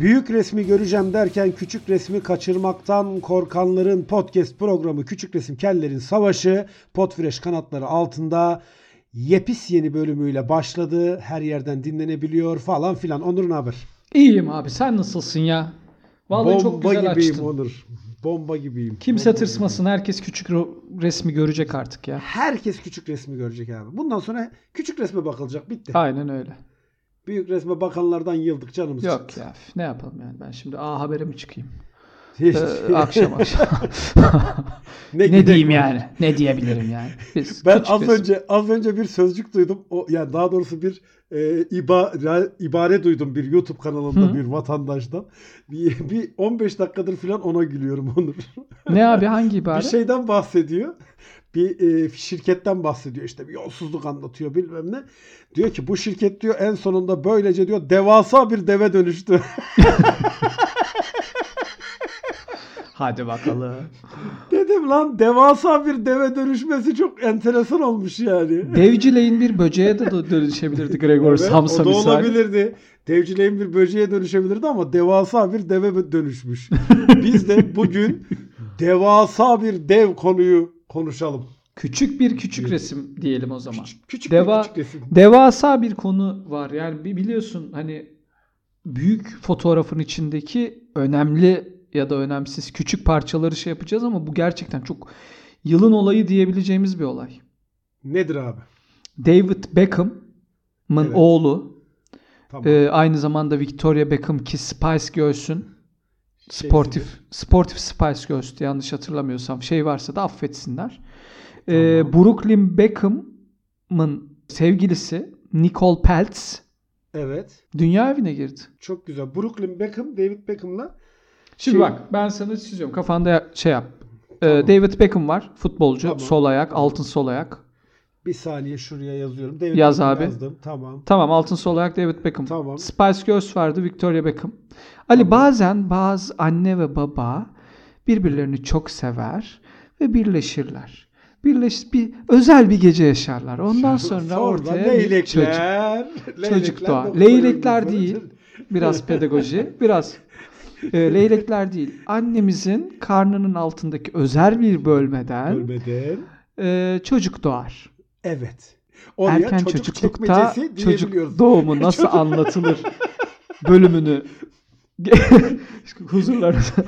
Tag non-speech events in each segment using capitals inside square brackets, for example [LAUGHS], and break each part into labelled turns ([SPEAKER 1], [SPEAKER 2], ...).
[SPEAKER 1] Büyük resmi göreceğim derken küçük resmi kaçırmaktan korkanların podcast programı Küçük Resim Kellerin Savaşı Potfresh kanatları altında yepis yeni bölümüyle başladı. Her yerden dinlenebiliyor falan filan. Onur ne haber?
[SPEAKER 2] İyiyim abi sen nasılsın ya? Vallahi çok güzel
[SPEAKER 1] gibiyim
[SPEAKER 2] açtın.
[SPEAKER 1] Onur. Bomba gibiyim.
[SPEAKER 2] Kimse
[SPEAKER 1] Bomba
[SPEAKER 2] tırsmasın. Herkes küçük ro- resmi görecek artık ya.
[SPEAKER 1] Herkes küçük resmi görecek abi. Bundan sonra küçük resme bakılacak. Bitti.
[SPEAKER 2] Aynen öyle.
[SPEAKER 1] Büyük resme bakanlardan yıldık canımız
[SPEAKER 2] Yok
[SPEAKER 1] [LAUGHS] çıktı.
[SPEAKER 2] ya ne yapalım yani ben şimdi A Haber'e mi çıkayım?
[SPEAKER 1] Hiç- [LAUGHS]
[SPEAKER 2] Ee, akşam akşam. ne
[SPEAKER 1] gidek
[SPEAKER 2] diyeyim
[SPEAKER 1] var.
[SPEAKER 2] yani? Ne diyebilirim yani? Biz
[SPEAKER 1] Ben
[SPEAKER 2] küçük
[SPEAKER 1] az
[SPEAKER 2] resim-
[SPEAKER 1] önce az önce bir sözcük duydum. O yani daha doğrusu bir e, iba, ra- ibare duydum bir YouTube kanalında
[SPEAKER 2] Hı.
[SPEAKER 1] bir vatandaştan. Bir, bir 15 dakikadır falan ona gülüyorum Onur.
[SPEAKER 2] Ne abi hangi ibare?
[SPEAKER 1] Bir şey- şeyden bahsediyor. Bir e, şirketten bahsediyor işte bir yolsuzluk anlatıyor bilmem ne. Diyor ki bu şirket diyor en sonunda böylece diyor devasa bir deve dönüştü. [LAUGHS]
[SPEAKER 2] Hadi bakalım.
[SPEAKER 1] Dedim lan devasa bir deve dönüşmesi çok enteresan olmuş yani.
[SPEAKER 2] Devcileyin bir böceğe de dö- dönüşebilirdi Gregor
[SPEAKER 1] Evet,
[SPEAKER 2] Samsa
[SPEAKER 1] o da
[SPEAKER 2] misali.
[SPEAKER 1] olabilirdi. Devcileğin bir böceğe dönüşebilirdi ama devasa bir deve dönüşmüş.
[SPEAKER 2] [LAUGHS]
[SPEAKER 1] Biz de bugün devasa bir dev konuyu konuşalım.
[SPEAKER 2] Küçük bir küçük resim diyelim o zaman.
[SPEAKER 1] Küçük
[SPEAKER 2] Deva-
[SPEAKER 1] bir küçük resim.
[SPEAKER 2] Devasa bir konu var. Yani bi- biliyorsun hani büyük fotoğrafın içindeki önemli ya da önemsiz küçük parçaları şey yapacağız ama bu gerçekten çok yılın olayı diyebileceğimiz bir olay.
[SPEAKER 1] Nedir abi?
[SPEAKER 2] David Beckham'ın
[SPEAKER 1] Evet.
[SPEAKER 2] oğlu
[SPEAKER 1] Tamam.
[SPEAKER 2] e, aynı zamanda Victoria Beckham ki Spice Girls'ün
[SPEAKER 1] Şeysi
[SPEAKER 2] sportif sportif Spice Girls'tü yanlış hatırlamıyorsam. Şey varsa da affetsinler. E,
[SPEAKER 1] Tamam.
[SPEAKER 2] Brooklyn Beckham'ın sevgilisi Nicole Peltz
[SPEAKER 1] Evet.
[SPEAKER 2] Dünya evine girdi.
[SPEAKER 1] Çok güzel. Brooklyn Beckham, David Beckham'la
[SPEAKER 2] Şimdi
[SPEAKER 1] Şey-
[SPEAKER 2] bak ben sana çiziyorum. Kafanda ya- şey yap. Ee,
[SPEAKER 1] Tamam.
[SPEAKER 2] David Beckham var. Futbolcu.
[SPEAKER 1] Tamam.
[SPEAKER 2] Sol ayak. Altın sol ayak.
[SPEAKER 1] bir saniye şuraya yazıyorum. David
[SPEAKER 2] Yaz
[SPEAKER 1] Beckham
[SPEAKER 2] abi.
[SPEAKER 1] Yazdım. Tamam.
[SPEAKER 2] Tamam altın sol ayak David Beckham.
[SPEAKER 1] Tamam.
[SPEAKER 2] Spice Girls vardı. Victoria Beckham. Ali bazen bazı anne ve baba birbirlerini çok sever ve birleşirler. Birleş, bir özel bir gece
[SPEAKER 1] [LAUGHS]
[SPEAKER 2] yaşarlar. Ondan sonra, ortaya bir çocuk.
[SPEAKER 1] leylekler.
[SPEAKER 2] çocuk doğar.
[SPEAKER 1] doktor
[SPEAKER 2] Leylekler
[SPEAKER 1] öldü.
[SPEAKER 2] değil.
[SPEAKER 1] [LAUGHS]
[SPEAKER 2] Biraz pedagoji, biraz e, leylekler değil. Annemizin karnının altındaki özel bir bölmeden
[SPEAKER 1] Ölmeden.
[SPEAKER 2] e, çocuk doğar.
[SPEAKER 1] Evet. Oraya
[SPEAKER 2] Erken
[SPEAKER 1] çocuk
[SPEAKER 2] çocuklukta
[SPEAKER 1] çekmecesi diyebiliyoruz. [LAUGHS]
[SPEAKER 2] çocuk doğumu nasıl anlatılır bölümünü huzurlarınıza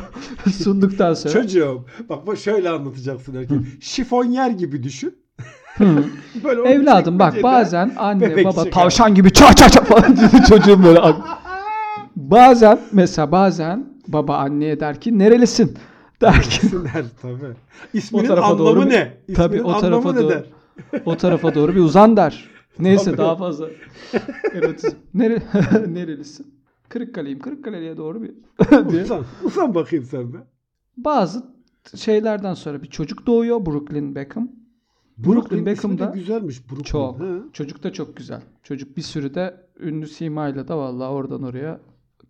[SPEAKER 2] sunduktan sonra
[SPEAKER 1] Çocuğum bak bu şöyle anlatacaksın erkeğim. Şifonyer gibi düşün.
[SPEAKER 2] Hı.
[SPEAKER 1] Böyle onu
[SPEAKER 2] evladım bak
[SPEAKER 1] çekmecede-
[SPEAKER 2] bazen anne
[SPEAKER 1] bebek
[SPEAKER 2] baba
[SPEAKER 1] çıkar.
[SPEAKER 2] tavşan gibi ça ça ça falan [LAUGHS] dedi çocuğum böyle bazen mesela bazen baba anneye der ki nerelisin der ki
[SPEAKER 1] Sinir tabii. İsminin
[SPEAKER 2] tarafa
[SPEAKER 1] anlamı
[SPEAKER 2] doğru bir-
[SPEAKER 1] ne? İsminin
[SPEAKER 2] Tabii o tarafa
[SPEAKER 1] anlamı ne
[SPEAKER 2] doğru. [LAUGHS]
[SPEAKER 1] der?
[SPEAKER 2] O tarafa doğru bir uzan der. Neyse
[SPEAKER 1] Tabii. [LAUGHS]
[SPEAKER 2] daha fazla. Evet. Nere [LAUGHS] nerelisin? Kırıkkale'yim. Kırıkkale'ye doğru bir diye.
[SPEAKER 1] Usan, usan bakayım sen be.
[SPEAKER 2] Bazı şeylerden sonra bir çocuk doğuyor Brooklyn Beckham.
[SPEAKER 1] Brooklyn
[SPEAKER 2] Brooklyn
[SPEAKER 1] Beckham da
[SPEAKER 2] Beckham'da
[SPEAKER 1] güzelmiş Brooklyn.
[SPEAKER 2] Çok.
[SPEAKER 1] ha.
[SPEAKER 2] Çocuk da çok güzel. Çocuk bir sürü de ünlü simayla da vallahi oradan oraya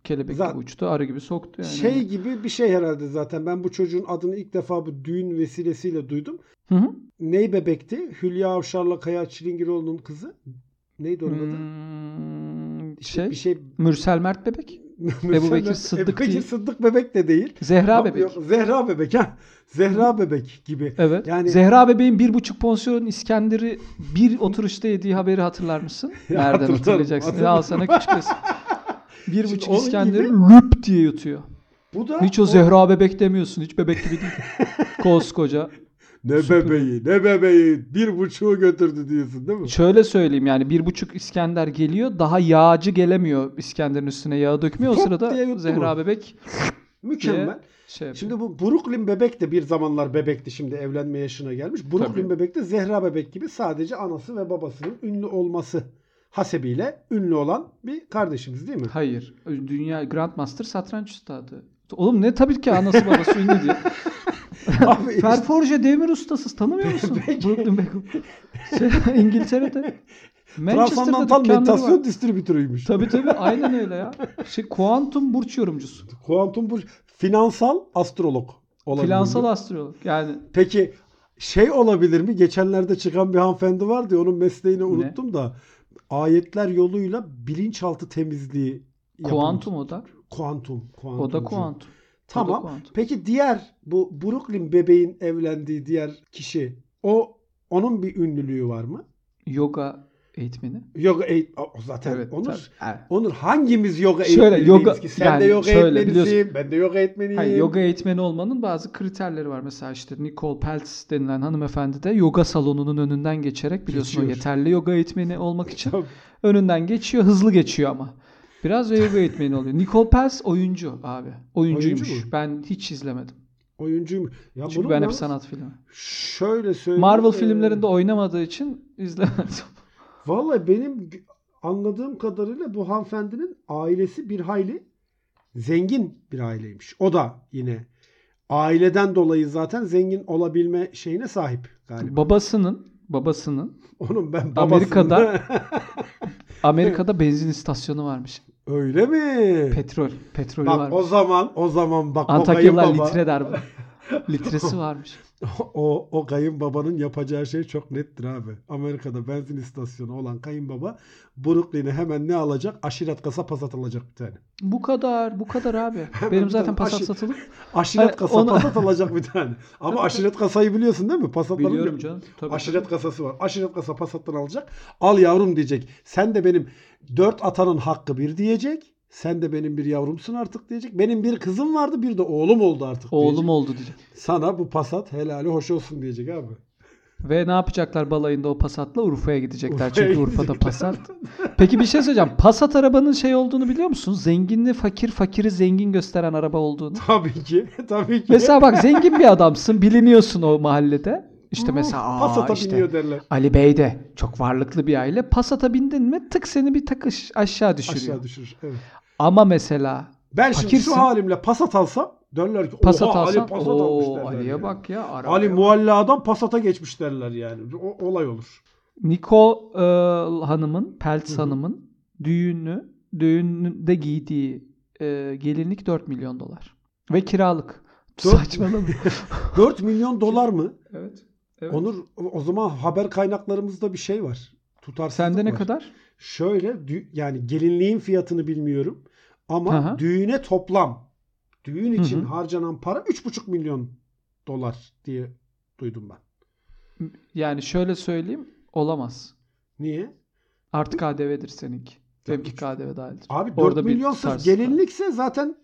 [SPEAKER 2] kelebek
[SPEAKER 1] Zaten-
[SPEAKER 2] gibi uçtu. Arı gibi soktu yani.
[SPEAKER 1] Şey gibi bir şey herhalde zaten. Ben bu çocuğun adını ilk defa bu düğün vesilesiyle duydum.
[SPEAKER 2] Hı hı.
[SPEAKER 1] Ney bebekti? Hülya Avşar'la Kaya Çilingiroğlu'nun kızı. Neydi onun adı?
[SPEAKER 2] Hmm,
[SPEAKER 1] İşte
[SPEAKER 2] şey,
[SPEAKER 1] Bir şey
[SPEAKER 2] Mürsel Mert Bebek.
[SPEAKER 1] [LAUGHS] Mesela-
[SPEAKER 2] Bekir Sıddık
[SPEAKER 1] Ebu Bekir
[SPEAKER 2] değil.
[SPEAKER 1] Sıddık bebek de değil.
[SPEAKER 2] Zehra
[SPEAKER 1] Yok,
[SPEAKER 2] Bebek.
[SPEAKER 1] yok, Zehra bebek ha. Zehra bebek gibi.
[SPEAKER 2] Evet.
[SPEAKER 1] Yani-
[SPEAKER 2] Zehra Bebeğin bir buçuk porsiyonun İskender'i bir oturuşta yediği haberi hatırlar
[SPEAKER 1] [LAUGHS]
[SPEAKER 2] mısın? Nereden
[SPEAKER 1] Hatırlarım,
[SPEAKER 2] hatırlayacaksın?
[SPEAKER 1] hatırlarım.
[SPEAKER 2] Al sana küçük
[SPEAKER 1] [LAUGHS]
[SPEAKER 2] resim. Bir
[SPEAKER 1] Şimdi
[SPEAKER 2] buçuk
[SPEAKER 1] onun
[SPEAKER 2] İskender'i
[SPEAKER 1] gibi-
[SPEAKER 2] lüp diye yutuyor.
[SPEAKER 1] Bu da
[SPEAKER 2] Hiç o Zehra Bebek demiyorsun. Hiç bebek gibi değil.
[SPEAKER 1] [LAUGHS]
[SPEAKER 2] Koskoca.
[SPEAKER 1] ne
[SPEAKER 2] Süper.
[SPEAKER 1] bebeği ne bebeği bir buçuğu götürdü diyorsun değil mi?
[SPEAKER 2] Şöyle söyleyeyim yani bir buçuk İskender geliyor. Daha yağcı gelemiyor İskender'in üstüne yağı dökmüyor. O
[SPEAKER 1] Hop diye
[SPEAKER 2] sırada
[SPEAKER 1] yuttu
[SPEAKER 2] Zehra
[SPEAKER 1] mu?
[SPEAKER 2] Bebek
[SPEAKER 1] Mükemmel.
[SPEAKER 2] şey yapıyor.
[SPEAKER 1] Şimdi bu Brooklyn bebek de bir zamanlar bebekti şimdi evlenme yaşına gelmiş. Brooklyn
[SPEAKER 2] Tabii.
[SPEAKER 1] bebek de Zehra bebek gibi sadece anası ve babasının ünlü olması hasebiyle ünlü olan bir kardeşimiz
[SPEAKER 2] [LAUGHS]
[SPEAKER 1] değil mi?
[SPEAKER 2] Hayır. Dünya Grandmaster satranç üstadı. Oğlum ne tabii ki anası babası ünlü diye.
[SPEAKER 1] Abi işte
[SPEAKER 2] Ferforje demir ustasız tanımıyor musun?
[SPEAKER 1] Peki.
[SPEAKER 2] Brooklyn Beckham. Şey, İngiltere'de.
[SPEAKER 1] [LAUGHS]
[SPEAKER 2] Manchester'da
[SPEAKER 1] Transandantal
[SPEAKER 2] dükkanları var.
[SPEAKER 1] meditasyon distribütörüymüş.
[SPEAKER 2] Tabii tabii aynen öyle ya. Şey, kuantum burç yorumcusu.
[SPEAKER 1] Kuantum bu finansal astrolog olabilir.
[SPEAKER 2] Finansal
[SPEAKER 1] mi?
[SPEAKER 2] astrolog. Yani
[SPEAKER 1] Peki şey olabilir mi? Geçenlerde çıkan bir hanımefendi vardı ya, onun mesleğini unuttum da ayetler yoluyla bilinçaltı temizliği yapılmış.
[SPEAKER 2] kuantum o da.
[SPEAKER 1] Kuantum. kuantumcu.
[SPEAKER 2] O da kuantum.
[SPEAKER 1] Tamam.
[SPEAKER 2] kuantum.
[SPEAKER 1] Peki diğer bu Brooklyn bebeğin evlendiği diğer kişi o onun bir ünlülüğü var mı?
[SPEAKER 2] yoga eğitmeni.
[SPEAKER 1] Yoga eğit o- zaten Onur.
[SPEAKER 2] tabii. Evet.
[SPEAKER 1] Onur hangimiz yoga
[SPEAKER 2] Şöyle,
[SPEAKER 1] eğitmeniyiz
[SPEAKER 2] yoga-
[SPEAKER 1] ki? Sen de
[SPEAKER 2] yani
[SPEAKER 1] yoga
[SPEAKER 2] şöyle,
[SPEAKER 1] eğitmenisin,
[SPEAKER 2] biliyorsun.
[SPEAKER 1] ben de yoga eğitmeniyim.
[SPEAKER 2] Hayır, yoga eğitmeni olmanın bazı kriterleri var. Mesela işte Nicole Peltz denilen hanımefendi de yoga salonunun önünden geçerek biliyorsun o
[SPEAKER 1] Geçiyor.
[SPEAKER 2] yeterli yoga eğitmeni olmak için
[SPEAKER 1] Tabii.
[SPEAKER 2] önünden geçiyor, hızlı geçiyor ama.
[SPEAKER 1] [LAUGHS]
[SPEAKER 2] Biraz da yoga eğitmeni oluyor. Nicole Peltz oyuncu abi. Oyuncuymuş.
[SPEAKER 1] Oyuncu mu?
[SPEAKER 2] ben hiç izlemedim.
[SPEAKER 1] Oyuncuyum. Ya
[SPEAKER 2] Çünkü
[SPEAKER 1] bunu
[SPEAKER 2] ben hep
[SPEAKER 1] yalnız
[SPEAKER 2] sanat filmi.
[SPEAKER 1] Şöyle söyleyeyim.
[SPEAKER 2] Marvel
[SPEAKER 1] e,
[SPEAKER 2] filmlerinde oynamadığı için
[SPEAKER 1] [LAUGHS]
[SPEAKER 2] izlemedim.
[SPEAKER 1] Vallahi benim g- anladığım kadarıyla bu hanımefendinin ailesi bir hayli zengin bir aileymiş. O da yine aileden dolayı zaten zengin olabilme şeyine sahip galiba. [LAUGHS]
[SPEAKER 2] babasının babasının
[SPEAKER 1] Onun ben babasını...
[SPEAKER 2] Amerika'da- Amerika'da benzin istasyonu varmış.
[SPEAKER 1] [LAUGHS] Öyle mi?
[SPEAKER 2] Petrol, petrolü
[SPEAKER 1] bak
[SPEAKER 2] varmış.
[SPEAKER 1] o zaman o zaman bak o
[SPEAKER 2] Antakyalılar
[SPEAKER 1] kayınbaba
[SPEAKER 2] litre der bu. Litresi varmış.
[SPEAKER 1] [LAUGHS] o o kayınbabanın yapacağı şey çok nettir abi. Amerika'da benzin istasyonu olan kayınbaba Brooklyn'e hemen ne alacak? Aşiret kasa pasat alacak bir tane.
[SPEAKER 2] Bu kadar, bu
[SPEAKER 1] [LAUGHS]
[SPEAKER 2] kadar abi.
[SPEAKER 1] bir
[SPEAKER 2] Benim zaten
[SPEAKER 1] tane
[SPEAKER 2] Passat
[SPEAKER 1] aşı-
[SPEAKER 2] satılık.
[SPEAKER 1] Aşiret
[SPEAKER 2] Hani
[SPEAKER 1] kasa
[SPEAKER 2] ona-
[SPEAKER 1] pasat alacak bir tane. Ama aşiret kasayı biliyorsun değil mi? Pasatların
[SPEAKER 2] Biliyorum canım. Tabii.
[SPEAKER 1] Aşiret kasası var. Aşiret kasa pasattan alacak. Al yavrum diyecek. Sen de benim dört atanın hakkı bir diyecek. Sen de benim bir yavrumsun artık diyecek. Benim bir kızım vardı bir de oğlum oldu artık diyecek.
[SPEAKER 2] Oğlum oldu diyecek.
[SPEAKER 1] Sana bu pasat helali hoş olsun diyecek abi. [LAUGHS]
[SPEAKER 2] Ve ne yapacaklar balayında o Passat'la Urfa'ya gidecekler.
[SPEAKER 1] Urfa'ya
[SPEAKER 2] Çünkü Urfa'da
[SPEAKER 1] gidecekler.
[SPEAKER 2] Passat. Peki bir şey söyleyeceğim. Passat arabanın şey olduğunu biliyor musun? Zenginli fakir, fakiri zengin gösteren araba olduğunu.
[SPEAKER 1] Tabii ki. Tabii ki.
[SPEAKER 2] Mesela bak zengin bir adamsın. Biliniyorsun o mahallede. İşte mesela aa
[SPEAKER 1] Passat'a
[SPEAKER 2] işte
[SPEAKER 1] biniyor derler.
[SPEAKER 2] Ali Bey de çok varlıklı bir aile. Passat'a bindin mi tık seni bir takış aşağı düşürüyor.
[SPEAKER 1] Aşağı düşürür. Evet.
[SPEAKER 2] Ama mesela
[SPEAKER 1] Ben şimdi şu
[SPEAKER 2] Fakirsin.
[SPEAKER 1] halimle Passat alsam derler ki
[SPEAKER 2] Passat
[SPEAKER 1] Oha,
[SPEAKER 2] alsan
[SPEAKER 1] Ali Passat almış
[SPEAKER 2] ooo
[SPEAKER 1] derler.
[SPEAKER 2] Ali'ye
[SPEAKER 1] yani.
[SPEAKER 2] bak ya. araba
[SPEAKER 1] Ali
[SPEAKER 2] yok.
[SPEAKER 1] mualladan Passat'a geçmiş derler yani. O, olay olur.
[SPEAKER 2] Niko e, Hanım'ın, Peltz
[SPEAKER 1] Hı hı.
[SPEAKER 2] Hanım'ın düğünü, düğünde giydiği e, gelinlik 4 milyon dolar. Ve kiralık.
[SPEAKER 1] Dört- [LAUGHS]
[SPEAKER 2] Saçmalama.
[SPEAKER 1] 4 milyon dolar mı?
[SPEAKER 2] evet. Evet.
[SPEAKER 1] Onur o o zaman haber kaynaklarımızda bir şey var. Tutarsızlık
[SPEAKER 2] [LAUGHS] Sende ne
[SPEAKER 1] var.
[SPEAKER 2] kadar?
[SPEAKER 1] Şöyle dü- yani gelinliğin fiyatını bilmiyorum ama
[SPEAKER 2] Aha.
[SPEAKER 1] düğüne toplam düğün
[SPEAKER 2] Hı
[SPEAKER 1] için
[SPEAKER 2] hı.
[SPEAKER 1] harcanan para 3,5 milyon dolar diye duydum ben.
[SPEAKER 2] Yani şöyle söyleyeyim. Olamaz.
[SPEAKER 1] Niye?
[SPEAKER 2] Artık KDV'dir seninki. Benimki KDV dahildir.
[SPEAKER 1] Abi 4
[SPEAKER 2] Orada bir
[SPEAKER 1] milyon sırf
[SPEAKER 2] tutarsızlık var.
[SPEAKER 1] gelinlikse zaten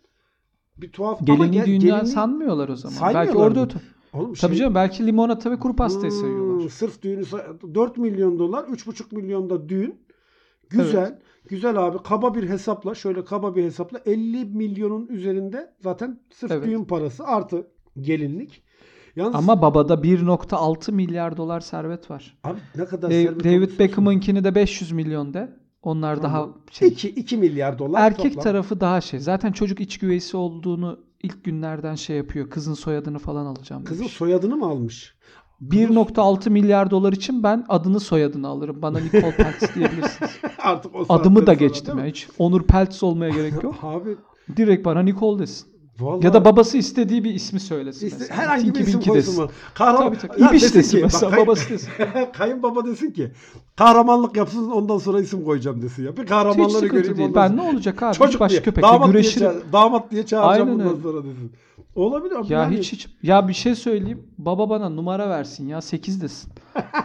[SPEAKER 1] bir tuhaf ama
[SPEAKER 2] Gelinliği
[SPEAKER 1] gel-
[SPEAKER 2] düğünden
[SPEAKER 1] gelinlik-
[SPEAKER 2] sanmıyorlar o zaman.
[SPEAKER 1] Saymıyorlar
[SPEAKER 2] Belki orada
[SPEAKER 1] mı?
[SPEAKER 2] öte-
[SPEAKER 1] Oğlum şey-
[SPEAKER 2] Tabii canım belki limonata ve kuru pastayı
[SPEAKER 1] Hmm,
[SPEAKER 2] seviyorlar.
[SPEAKER 1] Sırf düğünü sa- 4 milyon dolar, 3,5 milyon da düğün. Güzel. Güzel abi. Kaba bir hesapla, şöyle kaba bir hesapla 50 milyonun üzerinde zaten sırf
[SPEAKER 2] Evet.
[SPEAKER 1] düğün parası artı gelinlik. Yalnız
[SPEAKER 2] Ama babada 1.6 milyar dolar servet var.
[SPEAKER 1] abi ne kadar
[SPEAKER 2] Dave-
[SPEAKER 1] servet
[SPEAKER 2] David
[SPEAKER 1] olursa olsun.
[SPEAKER 2] Beckham'ınkini de 500 milyon de. Onlar
[SPEAKER 1] Tamam.
[SPEAKER 2] daha şey.
[SPEAKER 1] 2, 2 milyar dolar
[SPEAKER 2] erkek
[SPEAKER 1] toplam.
[SPEAKER 2] tarafı daha şey. Zaten çocuk iç güveysi olduğunu ilk günlerden şey yapıyor. Kızın soyadını falan alacağım.
[SPEAKER 1] Kızın
[SPEAKER 2] demiş.
[SPEAKER 1] soyadını mı almış? [LAUGHS]
[SPEAKER 2] 1.6 milyar dolar için ben adını soyadını alırım. Bana Nicole
[SPEAKER 1] [LAUGHS]
[SPEAKER 2] Peltz diyebilirsiniz.
[SPEAKER 1] Artık o
[SPEAKER 2] Adımı
[SPEAKER 1] saatten
[SPEAKER 2] da
[SPEAKER 1] sonra
[SPEAKER 2] geçtim ya.
[SPEAKER 1] değil mi?
[SPEAKER 2] Hiç Onur Peltz olmaya gerek
[SPEAKER 1] [LAUGHS]
[SPEAKER 2] yok.
[SPEAKER 1] Abi
[SPEAKER 2] Direkt bana Nicole desin.
[SPEAKER 1] vallahi
[SPEAKER 2] Ya da babası istediği bir ismi söylesin.
[SPEAKER 1] İşte
[SPEAKER 2] mesela.
[SPEAKER 1] herhangi bir
[SPEAKER 2] Tinky
[SPEAKER 1] isim
[SPEAKER 2] Winky
[SPEAKER 1] koysun
[SPEAKER 2] desin.
[SPEAKER 1] mu? Kahraman.
[SPEAKER 2] Tabii tabii.
[SPEAKER 1] Ya
[SPEAKER 2] İbiş
[SPEAKER 1] desin
[SPEAKER 2] desin
[SPEAKER 1] ki, bak
[SPEAKER 2] mesela,
[SPEAKER 1] kay-
[SPEAKER 2] babası desin.
[SPEAKER 1] [LAUGHS] Kayınbaba desin ki kahramanlık yapsın ondan sonra isim koyacağım desin ya. Bir
[SPEAKER 2] Hiç
[SPEAKER 1] kahramanları
[SPEAKER 2] sıkıntı
[SPEAKER 1] göreyim
[SPEAKER 2] değil.
[SPEAKER 1] ondan
[SPEAKER 2] Ben ne
[SPEAKER 1] sonra.
[SPEAKER 2] olacak abi?
[SPEAKER 1] Çocuk
[SPEAKER 2] Baş
[SPEAKER 1] diye,
[SPEAKER 2] köpekle
[SPEAKER 1] damat diye,
[SPEAKER 2] güreşirim.
[SPEAKER 1] ça- damat diye çağıracağım
[SPEAKER 2] Aynen
[SPEAKER 1] bundan
[SPEAKER 2] öyle.
[SPEAKER 1] sonra desin. Olabilir ama
[SPEAKER 2] Ya
[SPEAKER 1] yani
[SPEAKER 2] hiç hiç. Ya bir şey söyleyeyim. Baba bana numara versin ya
[SPEAKER 1] [LAUGHS]
[SPEAKER 2] 8 desin.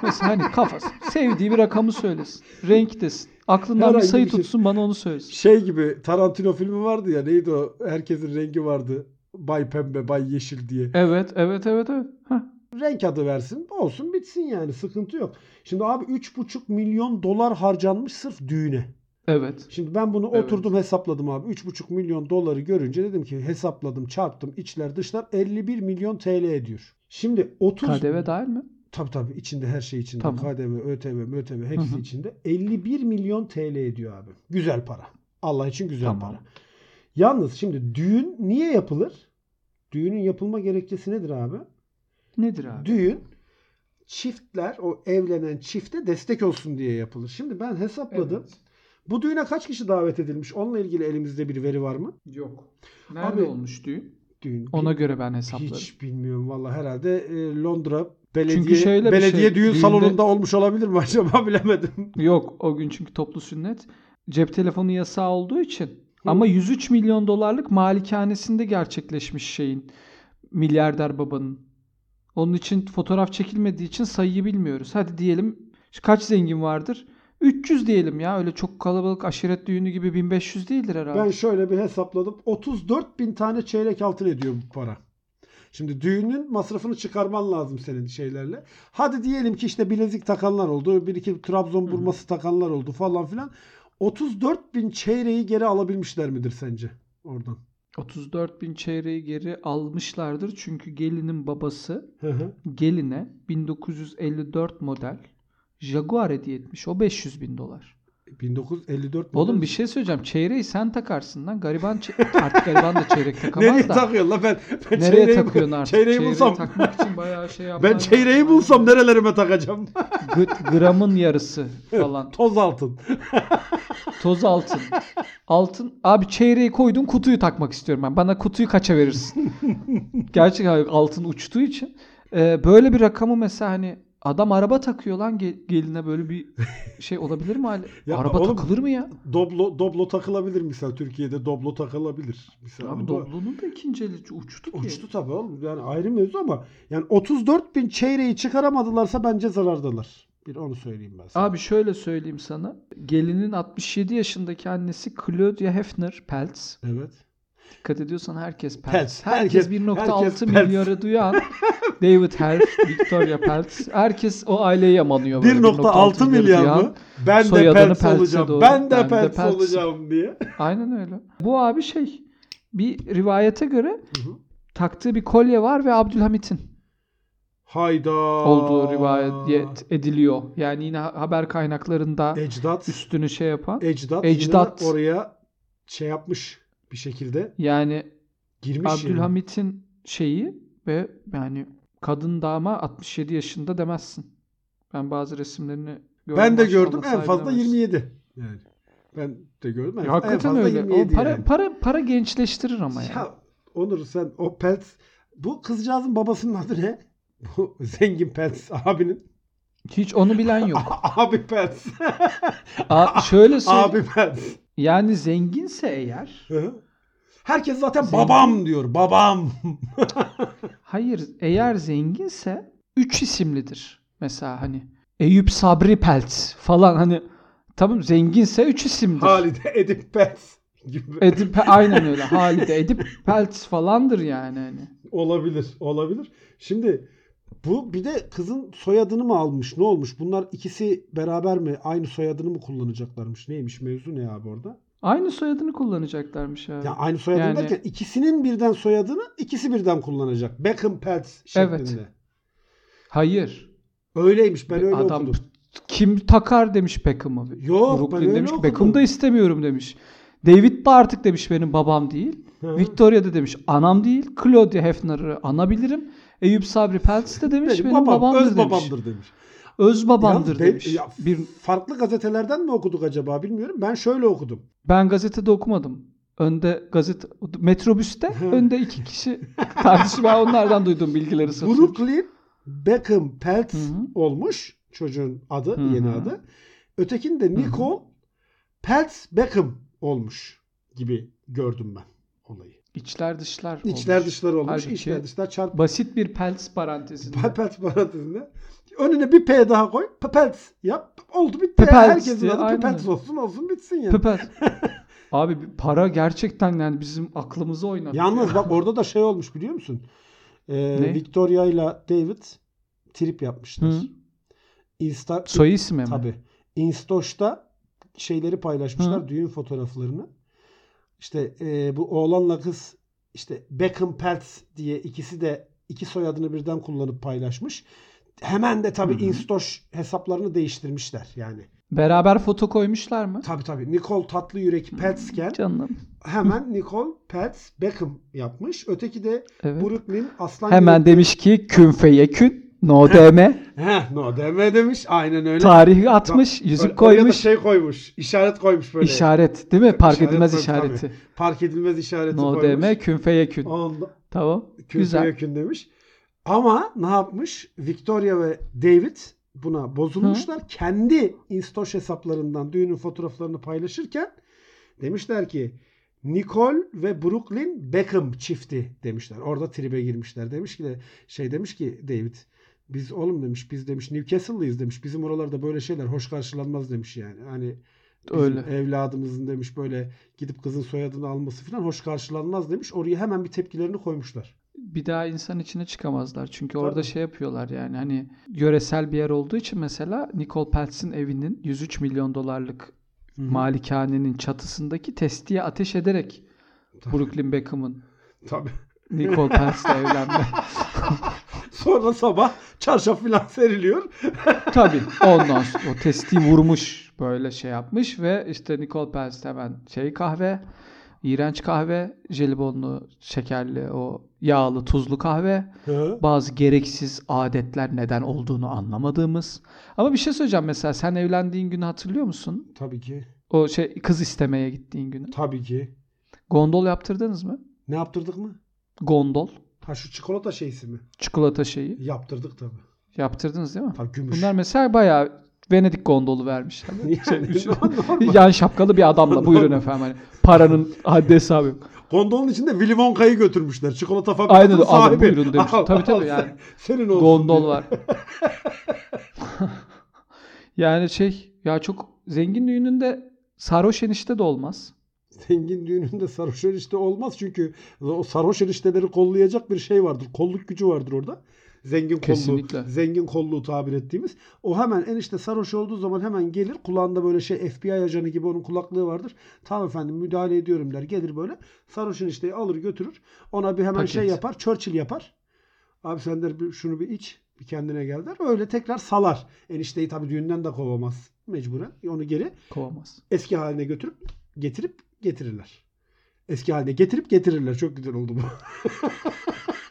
[SPEAKER 2] Mesela hani kafası. Sevdiği bir rakamı söylesin. Renk desin. Aklından
[SPEAKER 1] Herhangi
[SPEAKER 2] bir sayı
[SPEAKER 1] bir şey.
[SPEAKER 2] tutsun bana onu söylesin.
[SPEAKER 1] şey gibi Tarantino filmi vardı ya neydi o? Herkesin rengi vardı. Bay pembe, bay yeşil diye.
[SPEAKER 2] Evet evet evet evet. Heh.
[SPEAKER 1] Renk adı versin. Olsun bitsin yani. Sıkıntı yok. Şimdi abi 3,5 milyon dolar harcanmış sırf düğüne.
[SPEAKER 2] Evet.
[SPEAKER 1] Şimdi ben bunu
[SPEAKER 2] Evet.
[SPEAKER 1] oturdum hesapladım abi. 3,5 milyon doları görünce dedim ki hesapladım, çarptım, içler dışlar 51 milyon TL ediyor. Şimdi 30
[SPEAKER 2] KDV dahil mi?
[SPEAKER 1] tabii tabii içinde her şey içinde.
[SPEAKER 2] Tamam.
[SPEAKER 1] KDV, ÖTV, MÖTV hepsi
[SPEAKER 2] Hı hı.
[SPEAKER 1] içinde. 51 milyon TL ediyor abi. Güzel para. Allah için güzel
[SPEAKER 2] Tamam.
[SPEAKER 1] para. Yalnız şimdi düğün niye yapılır? Düğünün yapılma gerekçesi nedir abi?
[SPEAKER 2] Nedir abi?
[SPEAKER 1] Düğün çiftler, o evlenen çifte destek olsun diye yapılır. Şimdi ben hesapladım. Bu düğüne kaç kişi davet edilmiş? Onunla ilgili elimizde bir veri var mı?
[SPEAKER 2] Yok.
[SPEAKER 1] Nerede Abi-
[SPEAKER 2] olmuş düğün?
[SPEAKER 1] Düğün.
[SPEAKER 2] Ona
[SPEAKER 1] Bil-
[SPEAKER 2] göre ben hesaplarım.
[SPEAKER 1] hiç bilmiyorum valla herhalde e, Londra belediye
[SPEAKER 2] şöyle bir
[SPEAKER 1] belediye
[SPEAKER 2] şey,
[SPEAKER 1] düğün
[SPEAKER 2] düğünde-
[SPEAKER 1] salonunda olmuş olabilir mi [LAUGHS] acaba bilemedim.
[SPEAKER 2] Yok o gün çünkü toplu sünnet. Cep telefonu yasağı olduğu için Ama 103 milyon dolarlık malikanesinde gerçekleşmiş şeyin milyarder babanın. Onun için fotoğraf çekilmediği için sayıyı bilmiyoruz. Hadi diyelim kaç zengin vardır? 300 diyelim ya öyle çok kalabalık aşiret düğünü gibi 1500 değildir herhalde.
[SPEAKER 1] Ben şöyle bir hesapladım. 34 bin tane çeyrek altın ediyor bu para. Şimdi düğünün masrafını çıkarman lazım senin şeylerle. Hadi diyelim ki işte bilezik takanlar oldu. Bir iki Trabzon burması takanlar oldu falan filan. 34 bin çeyreği geri alabilmişler midir sence oradan?
[SPEAKER 2] 34 bin çeyreği geri almışlardır çünkü gelinin babası
[SPEAKER 1] Hı hı.
[SPEAKER 2] geline 1954 model Jaguar hediye etmiş. O 500 bin dolar.
[SPEAKER 1] 1954 mi?
[SPEAKER 2] Oğlum bir şey söyleyeceğim. Çeyreği sen takarsın lan. Gariban çe- artık gariban da
[SPEAKER 1] [LAUGHS]
[SPEAKER 2] çeyrek takamaz
[SPEAKER 1] Nereye
[SPEAKER 2] da.
[SPEAKER 1] takıyorsun la ben? ben
[SPEAKER 2] Nereye
[SPEAKER 1] çeyreği-
[SPEAKER 2] takıyorsun artık?
[SPEAKER 1] Çeyreği bulsam.
[SPEAKER 2] takmak için bayağı şey yapman
[SPEAKER 1] ben
[SPEAKER 2] lazım.
[SPEAKER 1] çeyreği bulsam nerelerime takacağım?
[SPEAKER 2] Gı- gramın yarısı
[SPEAKER 1] [LAUGHS]
[SPEAKER 2] falan.
[SPEAKER 1] Toz altın.
[SPEAKER 2] Toz altın. Altın. Abi çeyreği koydun kutuyu takmak istiyorum ben. Bana kutuyu
[SPEAKER 1] [LAUGHS]
[SPEAKER 2] kaça verirsin? Gerçek abi altın uçtuğu için. Ee, böyle bir rakamı mesela hani adam araba takıyor lan gel- geline böyle bir şey olabilir mi hali?
[SPEAKER 1] [LAUGHS] Ya
[SPEAKER 2] araba
[SPEAKER 1] oğlum-
[SPEAKER 2] takılır mı ya?
[SPEAKER 1] Doblo doblo takılabilir misal Türkiye'de doblo takılabilir. Misal
[SPEAKER 2] Abi
[SPEAKER 1] Bu-
[SPEAKER 2] Doblo'nun da ikinci eli uçtu ki.
[SPEAKER 1] Uçtu tabii oğlum. Yani ayrı mevzu ama yani 34 bin çeyreği çıkaramadılarsa bence zarardalar. Bir onu söyleyeyim ben sana.
[SPEAKER 2] Abi şöyle söyleyeyim sana. Gelinin 67 yaşındaki annesi Claudia Hefner Peltz.
[SPEAKER 1] Evet.
[SPEAKER 2] Dikkat ediyorsan herkes Peltz.
[SPEAKER 1] Peltz,
[SPEAKER 2] Herkes,
[SPEAKER 1] herkes-
[SPEAKER 2] 1.6
[SPEAKER 1] herkes [LAUGHS]
[SPEAKER 2] milyarı duyan David Helf, Victoria Peltz. Herkes o aileyi yamanıyor. böyle,
[SPEAKER 1] 1.6 milyar
[SPEAKER 2] duyan.
[SPEAKER 1] mı? Ben de
[SPEAKER 2] Soyadını
[SPEAKER 1] Pels
[SPEAKER 2] Peltz'e
[SPEAKER 1] olacağım.
[SPEAKER 2] doğru.
[SPEAKER 1] Ben de
[SPEAKER 2] Ben de
[SPEAKER 1] Pels
[SPEAKER 2] Peltz.
[SPEAKER 1] olacağım diye.
[SPEAKER 2] Aynen öyle. Bu abi şey bir rivayete göre
[SPEAKER 1] Hı hı.
[SPEAKER 2] taktığı bir kolye var ve Abdülhamit'in
[SPEAKER 1] Hayda.
[SPEAKER 2] olduğu rivayet ediliyor. Yani yine ha- haber kaynaklarında
[SPEAKER 1] Ecdat.
[SPEAKER 2] üstünü şey yapan.
[SPEAKER 1] Ecdat.
[SPEAKER 2] Ecdat.
[SPEAKER 1] yine oraya şey yapmış bir şekilde
[SPEAKER 2] Yani
[SPEAKER 1] girmiş. yani.
[SPEAKER 2] Abdülhamit'in şeyi ve yani kadın dama 67 yaşında demezsin. Ben bazı resimlerini gördüm.
[SPEAKER 1] Ben de
[SPEAKER 2] maşallah
[SPEAKER 1] gördüm en fazla
[SPEAKER 2] sahiplenemez.
[SPEAKER 1] 27. Yani ben de gördüm en,
[SPEAKER 2] Ya,
[SPEAKER 1] en
[SPEAKER 2] hakikaten
[SPEAKER 1] fazla
[SPEAKER 2] öyle. Oğlum
[SPEAKER 1] 27.
[SPEAKER 2] para,
[SPEAKER 1] yani.
[SPEAKER 2] para, para gençleştirir ama ya.
[SPEAKER 1] Ya Onur sen o Pels bu kızcağızın babasının adı ne? [LAUGHS] Bu zengin Pels abinin. [LAUGHS]
[SPEAKER 2] Hiç onu bilen yok.
[SPEAKER 1] Abi Pels.
[SPEAKER 2] Şey- Aa, şöyle söyleyeyim.
[SPEAKER 1] Abi Pels.
[SPEAKER 2] Yani zenginse eğer.
[SPEAKER 1] Hı hı. Herkes zaten
[SPEAKER 2] Zengin.
[SPEAKER 1] babam diyor. Babam.
[SPEAKER 2] Hayır eğer zenginse 3 isimlidir. Mesela hani Eyüp Sabri Pelt falan hani tamam zenginse 3 isimdir.
[SPEAKER 1] Halide Edip Pels gibi.
[SPEAKER 2] Edip aynen öyle. Halide Edip Peltz falandır yani hani.
[SPEAKER 1] Olabilir. Olabilir. Şimdi bu bir de kızın soyadını mı almış? Ne olmuş? Bunlar ikisi beraber mi? Aynı soyadını mı kullanacaklarmış? Neymiş? Mevzu ne abi orada?
[SPEAKER 2] Aynı soyadını kullanacaklarmış abi.
[SPEAKER 1] Ya aynı soyadını
[SPEAKER 2] Yani-
[SPEAKER 1] derken ikisinin birden soyadını ikisi birden kullanacak. Beckham Pels şeklinde.
[SPEAKER 2] Evet. Hayır.
[SPEAKER 1] Öyleymiş ben
[SPEAKER 2] Ve
[SPEAKER 1] öyle
[SPEAKER 2] adam
[SPEAKER 1] okudum.
[SPEAKER 2] kim takar demiş Beckham'ı.
[SPEAKER 1] Yok, ben
[SPEAKER 2] Brooklyn
[SPEAKER 1] öyle
[SPEAKER 2] demiş.
[SPEAKER 1] okudum.
[SPEAKER 2] Beckham'ı da istemiyorum demiş. David de artık demiş benim babam değil.
[SPEAKER 1] Hı.
[SPEAKER 2] Victoria da demiş anam değil. Claudia Hefner'ı anabilirim. Eyüp Sabri Peltz de demiş benim,
[SPEAKER 1] babam,
[SPEAKER 2] babamdır
[SPEAKER 1] öz
[SPEAKER 2] demiş.
[SPEAKER 1] babamdır demiş.
[SPEAKER 2] Öz babamdır
[SPEAKER 1] Yalnız ben-
[SPEAKER 2] demiş.
[SPEAKER 1] ya
[SPEAKER 2] bir,
[SPEAKER 1] Farklı gazetelerden mi okuduk acaba bilmiyorum. Ben şöyle okudum.
[SPEAKER 2] ben gazetede okumadım. Önde gazete metrobüste önde iki kişi [LAUGHS] tartışma onlardan duyduğum bilgileri satıyorum.
[SPEAKER 1] Brooklyn Beckham Peltz
[SPEAKER 2] Hı hı.
[SPEAKER 1] olmuş. Çocuğun adı,
[SPEAKER 2] Hı hı.
[SPEAKER 1] yeni adı. Ötekini de Nicole Peltz Beckham olmuş gibi gördüm ben olayı.
[SPEAKER 2] İçler dışlar.
[SPEAKER 1] İçler
[SPEAKER 2] olmuş.
[SPEAKER 1] dışlar olmuş,
[SPEAKER 2] Halbuki-
[SPEAKER 1] içler dışlar çarp.
[SPEAKER 2] Basit bir Peltz parantezinde.
[SPEAKER 1] Peltz parantezinde. Önüne bir P daha koy. Peltz yap. Oldu bitti.
[SPEAKER 2] Peltz
[SPEAKER 1] Herkesin
[SPEAKER 2] diye,
[SPEAKER 1] adı
[SPEAKER 2] aynen
[SPEAKER 1] Peltz
[SPEAKER 2] öyle.
[SPEAKER 1] olsun olsun bitsin yani.
[SPEAKER 2] Pepper.
[SPEAKER 1] [LAUGHS]
[SPEAKER 2] Abi bir para gerçekten yani bizim aklımızı oynadı.
[SPEAKER 1] Yalnız bak orada da şey olmuş biliyor musun? Ee,
[SPEAKER 2] Ne?
[SPEAKER 1] Victoria ile David trip yapmışlar.
[SPEAKER 2] Hı.
[SPEAKER 1] Insta
[SPEAKER 2] Soy ismi mi?
[SPEAKER 1] tabi. Instoş'ta şeyleri paylaşmışlar
[SPEAKER 2] Hı.
[SPEAKER 1] düğün fotoğraflarını. İşte e, bu oğlanla kız işte Beckham Peltz diye ikisi de iki soyadını birden kullanıp paylaşmış. Hemen de tabi Instoş hesaplarını değiştirmişler yani.
[SPEAKER 2] Beraber foto koymuşlar mı?
[SPEAKER 1] Tabi tabi Nicole tatlı yürek Peltzken
[SPEAKER 2] Canım.
[SPEAKER 1] hemen Nicole Peltz Beckham yapmış. Öteki de
[SPEAKER 2] Evet.
[SPEAKER 1] Brooklyn Aslan
[SPEAKER 2] Hemen demiş ki kün feye kün. No DM.
[SPEAKER 1] Heh, no deme demiş. Aynen öyle.
[SPEAKER 2] [LAUGHS] Tarihi atmış. Yüzük
[SPEAKER 1] Oraya da
[SPEAKER 2] koymuş.
[SPEAKER 1] şey koymuş. işaret koymuş böyle.
[SPEAKER 2] işaret değil mi? Park
[SPEAKER 1] İşaret
[SPEAKER 2] edilmez
[SPEAKER 1] koymuş,
[SPEAKER 2] işareti.
[SPEAKER 1] tabii. Park edilmez işareti
[SPEAKER 2] No
[SPEAKER 1] koymuş.
[SPEAKER 2] DM kün feye kün.
[SPEAKER 1] Ondan
[SPEAKER 2] Tamam.
[SPEAKER 1] Güzel.
[SPEAKER 2] Güzel.
[SPEAKER 1] yakın demiş. Ama ne yapmış? Victoria ve David buna bozulmuşlar. Kendi Instoş hesaplarından düğünün fotoğraflarını paylaşırken demişler ki Nicole ve Brooklyn Beckham çifti demişler. Orada tribe girmişler. Demiş ki de şey demiş ki David biz oğlum demiş biz demiş Newcastle'lıyız demiş. Bizim oralarda böyle şeyler hoş karşılanmaz demiş yani. Hani bizim
[SPEAKER 2] Öyle.
[SPEAKER 1] evladımızın demiş böyle gidip kızın soyadını alması falan hoş karşılanmaz demiş. Oraya hemen bir tepkilerini koymuşlar.
[SPEAKER 2] bir daha insan içine çıkamazlar. Çünkü orada
[SPEAKER 1] Tabii.
[SPEAKER 2] şey yapıyorlar yani hani yöresel bir yer olduğu için mesela Nicole Peltz'in evinin 103 milyon dolarlık malikanenin çatısındaki testiye ateş ederek
[SPEAKER 1] Tabii.
[SPEAKER 2] Brooklyn Beckham'ın
[SPEAKER 1] Tabii. [LAUGHS]
[SPEAKER 2] Nicole Peltz'le evlenme. [LAUGHS]
[SPEAKER 1] Sonra sabah çarşaf falan seriliyor.
[SPEAKER 2] Tabii ondan sonra o testiyi vurmuş böyle şey yapmış ve işte Nicole Peltz de hemen şey kahve iğrenç kahve, jelibonlu, şekerli, o yağlı, tuzlu kahve.
[SPEAKER 1] Hı.
[SPEAKER 2] bazı gereksiz adetler neden olduğunu anlamadığımız. Ama bir şey söyleyeceğim mesela sen evlendiğin günü hatırlıyor musun?
[SPEAKER 1] Tabii ki.
[SPEAKER 2] O şey kız istemeye gittiğin günü.
[SPEAKER 1] Tabii ki.
[SPEAKER 2] Gondol yaptırdınız mı?
[SPEAKER 1] Ne yaptırdık mı?
[SPEAKER 2] Gondol,
[SPEAKER 1] Ha şu çikolata şeysi mi?
[SPEAKER 2] çikolata şeyi
[SPEAKER 1] Yaptırdık tabii.
[SPEAKER 2] yaptırdınız değil mi?
[SPEAKER 1] Tabii gümüş.
[SPEAKER 2] Bunlar mesela bayağı Venedik gondolu vermişler.
[SPEAKER 1] [LAUGHS]
[SPEAKER 2] [LAUGHS]
[SPEAKER 1] yani,
[SPEAKER 2] Şey-
[SPEAKER 1] [LAUGHS] normal.
[SPEAKER 2] Yan şapkalı bir adamla buyurun efendim hani paranın haddi hesabı yok.
[SPEAKER 1] Gondolun içinde Willy Wonka'yı götürmüşler. Çikolata
[SPEAKER 2] Aynen,
[SPEAKER 1] fabrikasının
[SPEAKER 2] alın
[SPEAKER 1] sahibi.
[SPEAKER 2] buyurun demiş. Tabii, tabii,
[SPEAKER 1] sen-
[SPEAKER 2] yani.
[SPEAKER 1] [LAUGHS] Senin olsun.
[SPEAKER 2] Gondol
[SPEAKER 1] diye.
[SPEAKER 2] var. [LAUGHS] yani şey ya çok zengin düğününde sarhoş enişte de olmaz.
[SPEAKER 1] Zengin düğününde sarhoş erişte olmaz çünkü o sarhoş erişteleri kollayacak bir şey vardır. Kolluk gücü vardır orada. Zengin kolluğu,
[SPEAKER 2] Kesinlikle.
[SPEAKER 1] zengin kolluğu tabir ettiğimiz. O hemen enişte sarhoş olduğu zaman hemen gelir. Kulağında böyle şey FBI ajanı gibi onun kulaklığı vardır. Tamam efendim müdahale ediyorum der. Gelir böyle. Sarhoş enişteyi alır götürür. Ona bir hemen
[SPEAKER 2] Paket.
[SPEAKER 1] şey yapar. Churchill yapar. Abi sen der bir, şunu bir iç. Bir kendine gel der. Öyle tekrar salar. Enişteyi tabii düğünden de kovamaz mecburen. Onu geri [LAUGHS]
[SPEAKER 2] Kovamaz.
[SPEAKER 1] eski haline götürüp getirip getirirler. Eski haline getirip getirirler. Çok güzel oldu bu.
[SPEAKER 2] [LAUGHS]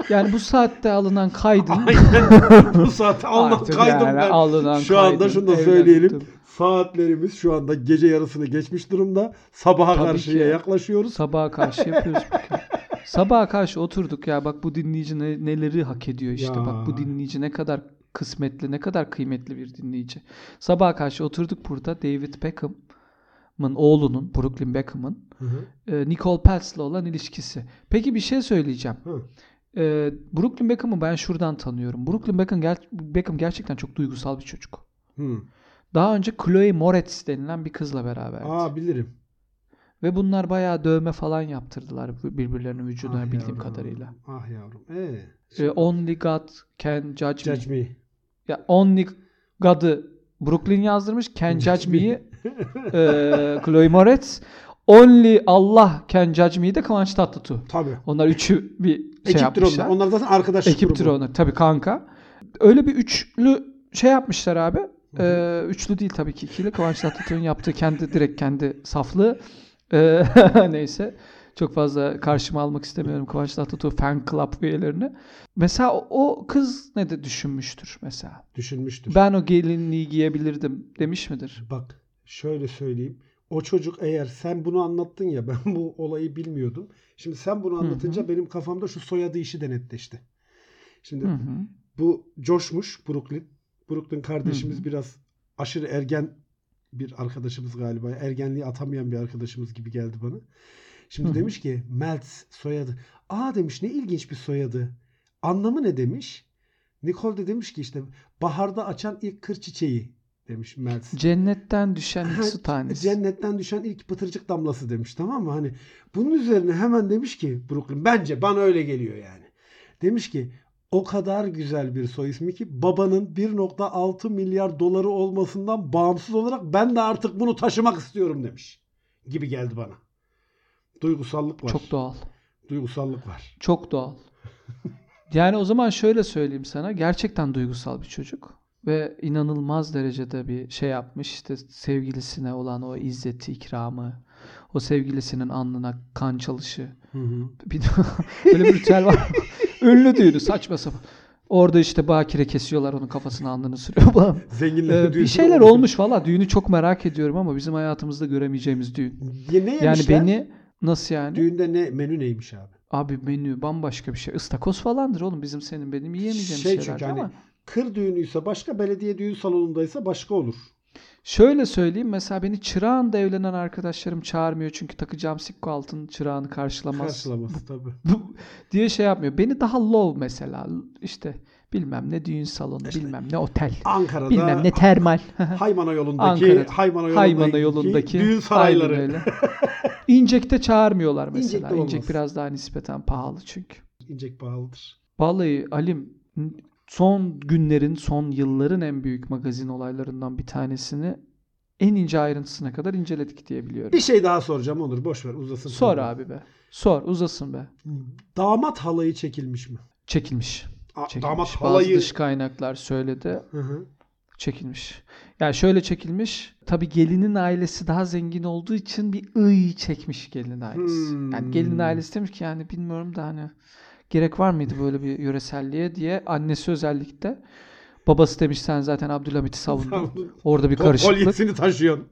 [SPEAKER 2] Yani bu saatte alınan kaydın
[SPEAKER 1] Aynen. bu saate Allah
[SPEAKER 2] artık
[SPEAKER 1] kaydım
[SPEAKER 2] yani
[SPEAKER 1] ben.
[SPEAKER 2] alınan
[SPEAKER 1] Şu anda
[SPEAKER 2] kaydın
[SPEAKER 1] şunu da
[SPEAKER 2] evden
[SPEAKER 1] söyleyelim.
[SPEAKER 2] tuttum.
[SPEAKER 1] Saatlerimiz şu anda gece yarısını geçmiş durumda. Sabaha
[SPEAKER 2] Tabii
[SPEAKER 1] karşıya
[SPEAKER 2] ki.
[SPEAKER 1] yaklaşıyoruz.
[SPEAKER 2] Sabaha karşı yapıyoruz. bu kere. Sabaha karşı oturduk ya bak bu dinleyici ne- neleri hak ediyor işte
[SPEAKER 1] Ya.
[SPEAKER 2] bak bu dinleyici ne kadar kısmetli ne kadar kıymetli bir dinleyici. Sabaha karşı oturduk burada David Beckham'ın oğlunun Brooklyn Beckham'ın
[SPEAKER 1] Hı hı.
[SPEAKER 2] e, Nicole Peltz'le olan ilişkisi. Peki bir şey söyleyeceğim.
[SPEAKER 1] Hı.
[SPEAKER 2] E, Brooklyn Beckham'ı ben şuradan tanıyorum. Brooklyn Beckham, ger- Beckham gerçekten çok duygusal bir çocuk.
[SPEAKER 1] Hı.
[SPEAKER 2] Daha önce Chloe Moretz denilen bir kızla beraberdi.
[SPEAKER 1] Aa bilirim.
[SPEAKER 2] Ve bunlar bayağı dövme falan yaptırdılar bir- birbirlerinin vücuduna
[SPEAKER 1] Ah
[SPEAKER 2] bildiğim
[SPEAKER 1] yavrum.
[SPEAKER 2] kadarıyla.
[SPEAKER 1] Ah yavrum. Ee,
[SPEAKER 2] Ee, only God can judge, me.
[SPEAKER 1] judge me.
[SPEAKER 2] Ya Only God'ı Brooklyn yazdırmış.
[SPEAKER 1] [LAUGHS]
[SPEAKER 2] Can judge me'yi e, Chloe Moretz. Only Allah can judge me'yi de Kıvanç Tatlıtuğ.
[SPEAKER 1] Tabii.
[SPEAKER 2] Onlar üçü bir şey
[SPEAKER 1] Ekiptir
[SPEAKER 2] yapmışlar.
[SPEAKER 1] onlar. Onlar zaten arkadaş
[SPEAKER 2] Ekiptir
[SPEAKER 1] grubu.
[SPEAKER 2] onlar. Tabii kanka. Öyle bir üçlü şey yapmışlar abi.
[SPEAKER 1] Hı
[SPEAKER 2] Ee, üçlü değil tabii ki ikili. Kıvanç Tatlıtuğ'un yaptığı kendi direkt kendi saflığı. Ee, [LAUGHS] neyse. Çok fazla karşıma almak istemiyorum Kıvanç Tatlıtuğ fan club üyelerini. Mesela o, o kız ne de düşünmüştür mesela.
[SPEAKER 1] Düşünmüştür.
[SPEAKER 2] Ben o gelinliği giyebilirdim demiş midir?
[SPEAKER 1] Bak şöyle söyleyeyim. O çocuk eğer sen bunu anlattın ya [LAUGHS] ben bu olayı bilmiyordum. Şimdi sen bunu
[SPEAKER 2] hı.
[SPEAKER 1] anlatınca benim kafamda şu soyadı işi denetleşti. Şimdi
[SPEAKER 2] Hı hı.
[SPEAKER 1] bu coşmuş Brooklyn. Brooklyn kardeşimiz biraz aşırı ergen bir arkadaşımız galiba. Ergenliği atamayan bir arkadaşımız gibi geldi bana. Şimdi
[SPEAKER 2] Hı hı.
[SPEAKER 1] demiş ki Meltz soyadı. Aa demiş ne ilginç bir soyadı. Anlamı ne demiş? Nicole de demiş ki işte baharda açan ilk kır çiçeği demiş Meltz.
[SPEAKER 2] Cennetten düşen ilk su tanesi.
[SPEAKER 1] Cennetten düşen ilk pıtırcık damlası demiş tamam mı? Hani bunun üzerine hemen demiş ki Brooklyn bence bana öyle geliyor yani. Demiş ki o kadar güzel bir soy ismi ki babanın 1.6 milyar doları olmasından bağımsız olarak ben de artık bunu taşımak istiyorum demiş. Gibi geldi bana. Duygusallık var.
[SPEAKER 2] Çok doğal.
[SPEAKER 1] Duygusallık var.
[SPEAKER 2] Çok doğal. Yani o zaman şöyle söyleyeyim sana. Gerçekten duygusal bir çocuk. Ve inanılmaz derecede bir şey yapmış. İşte sevgilisine olan o izzeti, ikramı. O sevgilisinin alnına kan çalışı.
[SPEAKER 1] Hı hı.
[SPEAKER 2] Bir de [LAUGHS] böyle bir ritüel var. Ünlü düğünü saçma sapan. Orada işte bakire kesiyorlar onun kafasını alnını sürüyor falan.
[SPEAKER 1] Zenginler
[SPEAKER 2] Ee, bir
[SPEAKER 1] diyorsun,
[SPEAKER 2] şeyler
[SPEAKER 1] olmuş.
[SPEAKER 2] olmuş valla. Düğünü çok merak ediyorum ama bizim hayatımızda göremeyeceğimiz düğün.
[SPEAKER 1] Ya Ne
[SPEAKER 2] Yani
[SPEAKER 1] yemişler?
[SPEAKER 2] beni nasıl yani?
[SPEAKER 1] Düğünde ne menü neymiş abi?
[SPEAKER 2] Abi menü bambaşka bir şey. Istakoz falandır oğlum bizim senin benim yiyemeyeceğim
[SPEAKER 1] Şey
[SPEAKER 2] şeyler
[SPEAKER 1] çünkü hani-
[SPEAKER 2] ama.
[SPEAKER 1] Kır düğünüyse başka, belediye düğün salonundaysa başka olur.
[SPEAKER 2] Şöyle söyleyeyim mesela beni çırağında evlenen arkadaşlarım çağırmıyor çünkü takacağım sikko altın çırağını karşılamaz
[SPEAKER 1] Karşılaması tabii.
[SPEAKER 2] [LAUGHS] diye şey yapmıyor. Beni daha low mesela işte bilmem ne düğün salonu bilmem ne otel
[SPEAKER 1] Ankara'da
[SPEAKER 2] bilmem
[SPEAKER 1] [LAUGHS]
[SPEAKER 2] ne termal.
[SPEAKER 1] Haymana yolundaki
[SPEAKER 2] Ankara'da,
[SPEAKER 1] Haymana
[SPEAKER 2] [LAUGHS]
[SPEAKER 1] yolundaki,
[SPEAKER 2] Haymana yolundaki
[SPEAKER 1] düğün sarayları.
[SPEAKER 2] aynen öyle. İncek'te çağırmıyorlar mesela.
[SPEAKER 1] İncek'te
[SPEAKER 2] İncek
[SPEAKER 1] olmaz.
[SPEAKER 2] biraz daha nispeten pahalı çünkü.
[SPEAKER 1] İncek pahalıdır.
[SPEAKER 2] Vallahi Alim son günlerin, son yılların en büyük magazin olaylarından bir tanesini en ince ayrıntısına kadar inceledik diye biliyorum.
[SPEAKER 1] Bir şey daha soracağım Onur. Boş ver uzasın.
[SPEAKER 2] Sor
[SPEAKER 1] sonra.
[SPEAKER 2] abi be. Sor uzasın be.
[SPEAKER 1] Damat halayı çekilmiş mi?
[SPEAKER 2] Çekilmiş.
[SPEAKER 1] A-
[SPEAKER 2] Çekilmiş.
[SPEAKER 1] damat
[SPEAKER 2] Bazı
[SPEAKER 1] halayı.
[SPEAKER 2] dış kaynaklar söyledi.
[SPEAKER 1] Hı hı.
[SPEAKER 2] Çekilmiş. Yani şöyle çekilmiş. Tabii gelinin ailesi daha zengin olduğu için bir ıy çekmiş gelin ailesi.
[SPEAKER 1] Hmm.
[SPEAKER 2] Yani gelin ailesi demiş ki yani bilmiyorum da hani gerek var mıydı böyle bir yöreselliğe diye annesi özellikle. Babası demiş sen zaten Abdülhamit'i
[SPEAKER 1] [LAUGHS]
[SPEAKER 2] savundun.
[SPEAKER 1] Savundun.
[SPEAKER 2] Orada bir karışıklık.
[SPEAKER 1] Kolyesini taşıyorsun.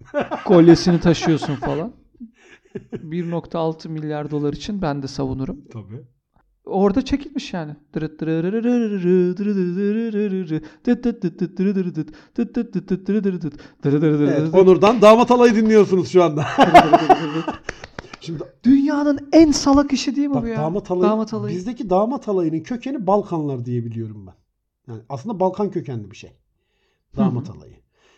[SPEAKER 2] Kolyesini taşıyorsun falan. [LAUGHS] 1.6 milyar dolar için ben de savunurum.
[SPEAKER 1] Tabii.
[SPEAKER 2] Orada çekilmiş yani. Dırıt dırırırırırırı, dırırırırırırı, dıt dıt dıt dıt dırıdırıdıt, dıt dıt dıt dıt dırıdırıdıt, dırıdırıdırıdıt,
[SPEAKER 1] Evet, Onur'dan damat halayı dinliyorsunuz şu anda.
[SPEAKER 2] dırıdırıdırıdıt.
[SPEAKER 1] Şimdi
[SPEAKER 2] Dünyanın en salak işi değil mi
[SPEAKER 1] bak
[SPEAKER 2] bu ya?
[SPEAKER 1] damat halayı,
[SPEAKER 2] Damat halayı.
[SPEAKER 1] bizdeki damat halayının kökeni Balkanlar diye biliyorum ben. Yani aslında Balkan kökenli bir şey. Damat halayı.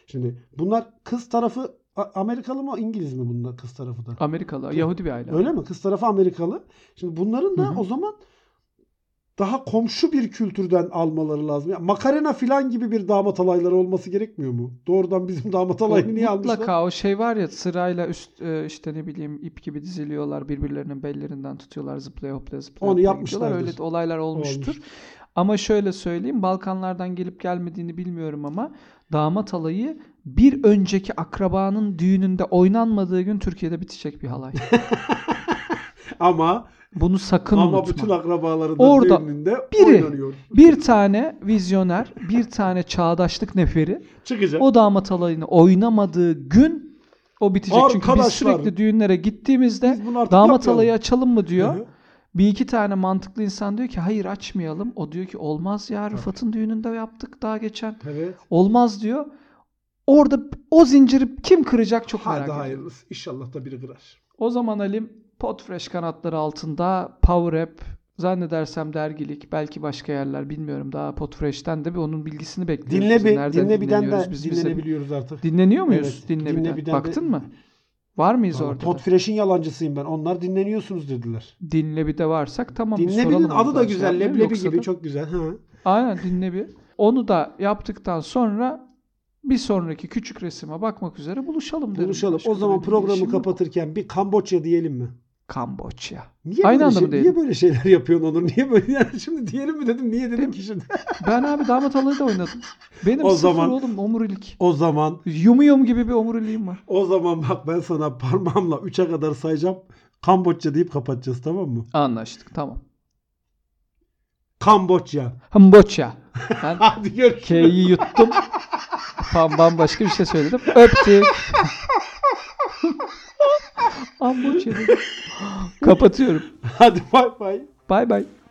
[SPEAKER 1] Şimdi bunlar kız tarafı A- Amerikalı mı İngiliz mi bunlar kız tarafı da?
[SPEAKER 2] Amerikalı, Yahudi bir aile.
[SPEAKER 1] Öyle mi? Kız tarafı Amerikalı. Şimdi bunların da
[SPEAKER 2] Hı hı.
[SPEAKER 1] o zaman daha komşu bir kültürden almaları lazım. Ya makarena filan gibi bir damat alayları olması gerekmiyor mu? Doğrudan bizim damat alayını niye almışlar?
[SPEAKER 2] Mutlaka o şey var ya sırayla üst e, işte ne bileyim ip gibi diziliyorlar birbirlerinin bellerinden tutuyorlar zıplaya hoplaya zıplaya.
[SPEAKER 1] Onu
[SPEAKER 2] hoplaya
[SPEAKER 1] yapmışlardır.
[SPEAKER 2] gidiyorlar. Öyle de olaylar olmuştur.
[SPEAKER 1] Olmuş.
[SPEAKER 2] Ama şöyle söyleyeyim Balkanlardan gelip gelmediğini bilmiyorum ama damat alayı bir önceki akrabanın düğününde oynanmadığı gün Türkiye'de bitecek
[SPEAKER 1] [LAUGHS]
[SPEAKER 2] bir halay.
[SPEAKER 1] Ama
[SPEAKER 2] Bunu sakın
[SPEAKER 1] ama
[SPEAKER 2] unutma.
[SPEAKER 1] bütün akrabaların
[SPEAKER 2] Orada
[SPEAKER 1] düğününde
[SPEAKER 2] biri-
[SPEAKER 1] oynanıyor.
[SPEAKER 2] Bir tane vizyoner, bir tane çağdaşlık neferi
[SPEAKER 1] Çıkacak.
[SPEAKER 2] o damat alayını oynamadığı gün o bitecek. Çünkü biz
[SPEAKER 1] Arkadaşlar.
[SPEAKER 2] sürekli düğünlere gittiğimizde
[SPEAKER 1] Biz bunu artık
[SPEAKER 2] damat
[SPEAKER 1] yapmayalım.
[SPEAKER 2] alayı açalım mı diyor.
[SPEAKER 1] Hı hı.
[SPEAKER 2] Bir iki tane mantıklı insan diyor ki hayır açmayalım. O diyor ki olmaz ya Rıfat'ın düğününde yaptık daha geçen.
[SPEAKER 1] Evet.
[SPEAKER 2] Olmaz diyor. Orada o zinciri kim kıracak çok merak
[SPEAKER 1] Hadi
[SPEAKER 2] ediyorum.
[SPEAKER 1] hayırlısı. İnşallah da biri kırar.
[SPEAKER 2] O zaman Halim Podfresh kanatları altında Power App zannedersem dergilik belki başka yerler bilmiyorum daha Podfresh'ten de bir onun bilgisini bekliyoruz.
[SPEAKER 1] Dinle
[SPEAKER 2] Biz
[SPEAKER 1] bir
[SPEAKER 2] nereden
[SPEAKER 1] dinle birden
[SPEAKER 2] dinleniyoruz?
[SPEAKER 1] de
[SPEAKER 2] Biz bize-
[SPEAKER 1] dinlenebiliyoruz artık.
[SPEAKER 2] Dinleniyor muyuz?
[SPEAKER 1] Evet,
[SPEAKER 2] dinle,
[SPEAKER 1] dinle
[SPEAKER 2] birden.
[SPEAKER 1] birden de-
[SPEAKER 2] Baktın mı? Var mıyız
[SPEAKER 1] Valla
[SPEAKER 2] orada? da?
[SPEAKER 1] Podfresh'in yalancısıyım ben. Onlar dinleniyorsunuz dediler.
[SPEAKER 2] Dinle bir de varsak tamam bir
[SPEAKER 1] Dinlebi'nin
[SPEAKER 2] soralım onu
[SPEAKER 1] adı da
[SPEAKER 2] şey
[SPEAKER 1] güzel.
[SPEAKER 2] yapmayalım.
[SPEAKER 1] Leblebi
[SPEAKER 2] Yoksa
[SPEAKER 1] gibi
[SPEAKER 2] da-
[SPEAKER 1] çok güzel. Hı.
[SPEAKER 2] Aynen dinle bir. Onu da yaptıktan sonra bir sonraki küçük resime bakmak üzere buluşalım derim.
[SPEAKER 1] Buluşalım.
[SPEAKER 2] Başka
[SPEAKER 1] O
[SPEAKER 2] da
[SPEAKER 1] zaman
[SPEAKER 2] benim bir şey işim
[SPEAKER 1] programı
[SPEAKER 2] yok.
[SPEAKER 1] kapatırken bir Kamboçya diyelim mi?
[SPEAKER 2] Kamboçya.
[SPEAKER 1] Niye
[SPEAKER 2] Aynı
[SPEAKER 1] böyle
[SPEAKER 2] anda
[SPEAKER 1] şey-
[SPEAKER 2] mı diyelim?
[SPEAKER 1] Niye böyle şeyler yapıyorsun Onur? Niye böyle? [LAUGHS] Yani şimdi diyelim mi dedim. Niye dedim ki şimdi?
[SPEAKER 2] Ben abi damat alayı da oynadım. Benim
[SPEAKER 1] O
[SPEAKER 2] sıfır
[SPEAKER 1] zaman-
[SPEAKER 2] oğlum omurilik.
[SPEAKER 1] o zaman
[SPEAKER 2] Yum yum gibi bir omuriliğim var.
[SPEAKER 1] o zaman bak ben sana parmağımla 3'e kadar sayacağım. Kamboçya deyip kapatacağız tamam mı?
[SPEAKER 2] Anlaştık tamam.
[SPEAKER 1] Kamboçya. [LAUGHS]
[SPEAKER 2] Hamboçya. Ben
[SPEAKER 1] Hadi görüşürüz.
[SPEAKER 2] K'yi yuttum. Tam bambaşka bir şey söyledim. Öptük. Hamboçya dedim. Kapatıyorum.
[SPEAKER 1] Hadi bay bay.
[SPEAKER 2] Bay bay.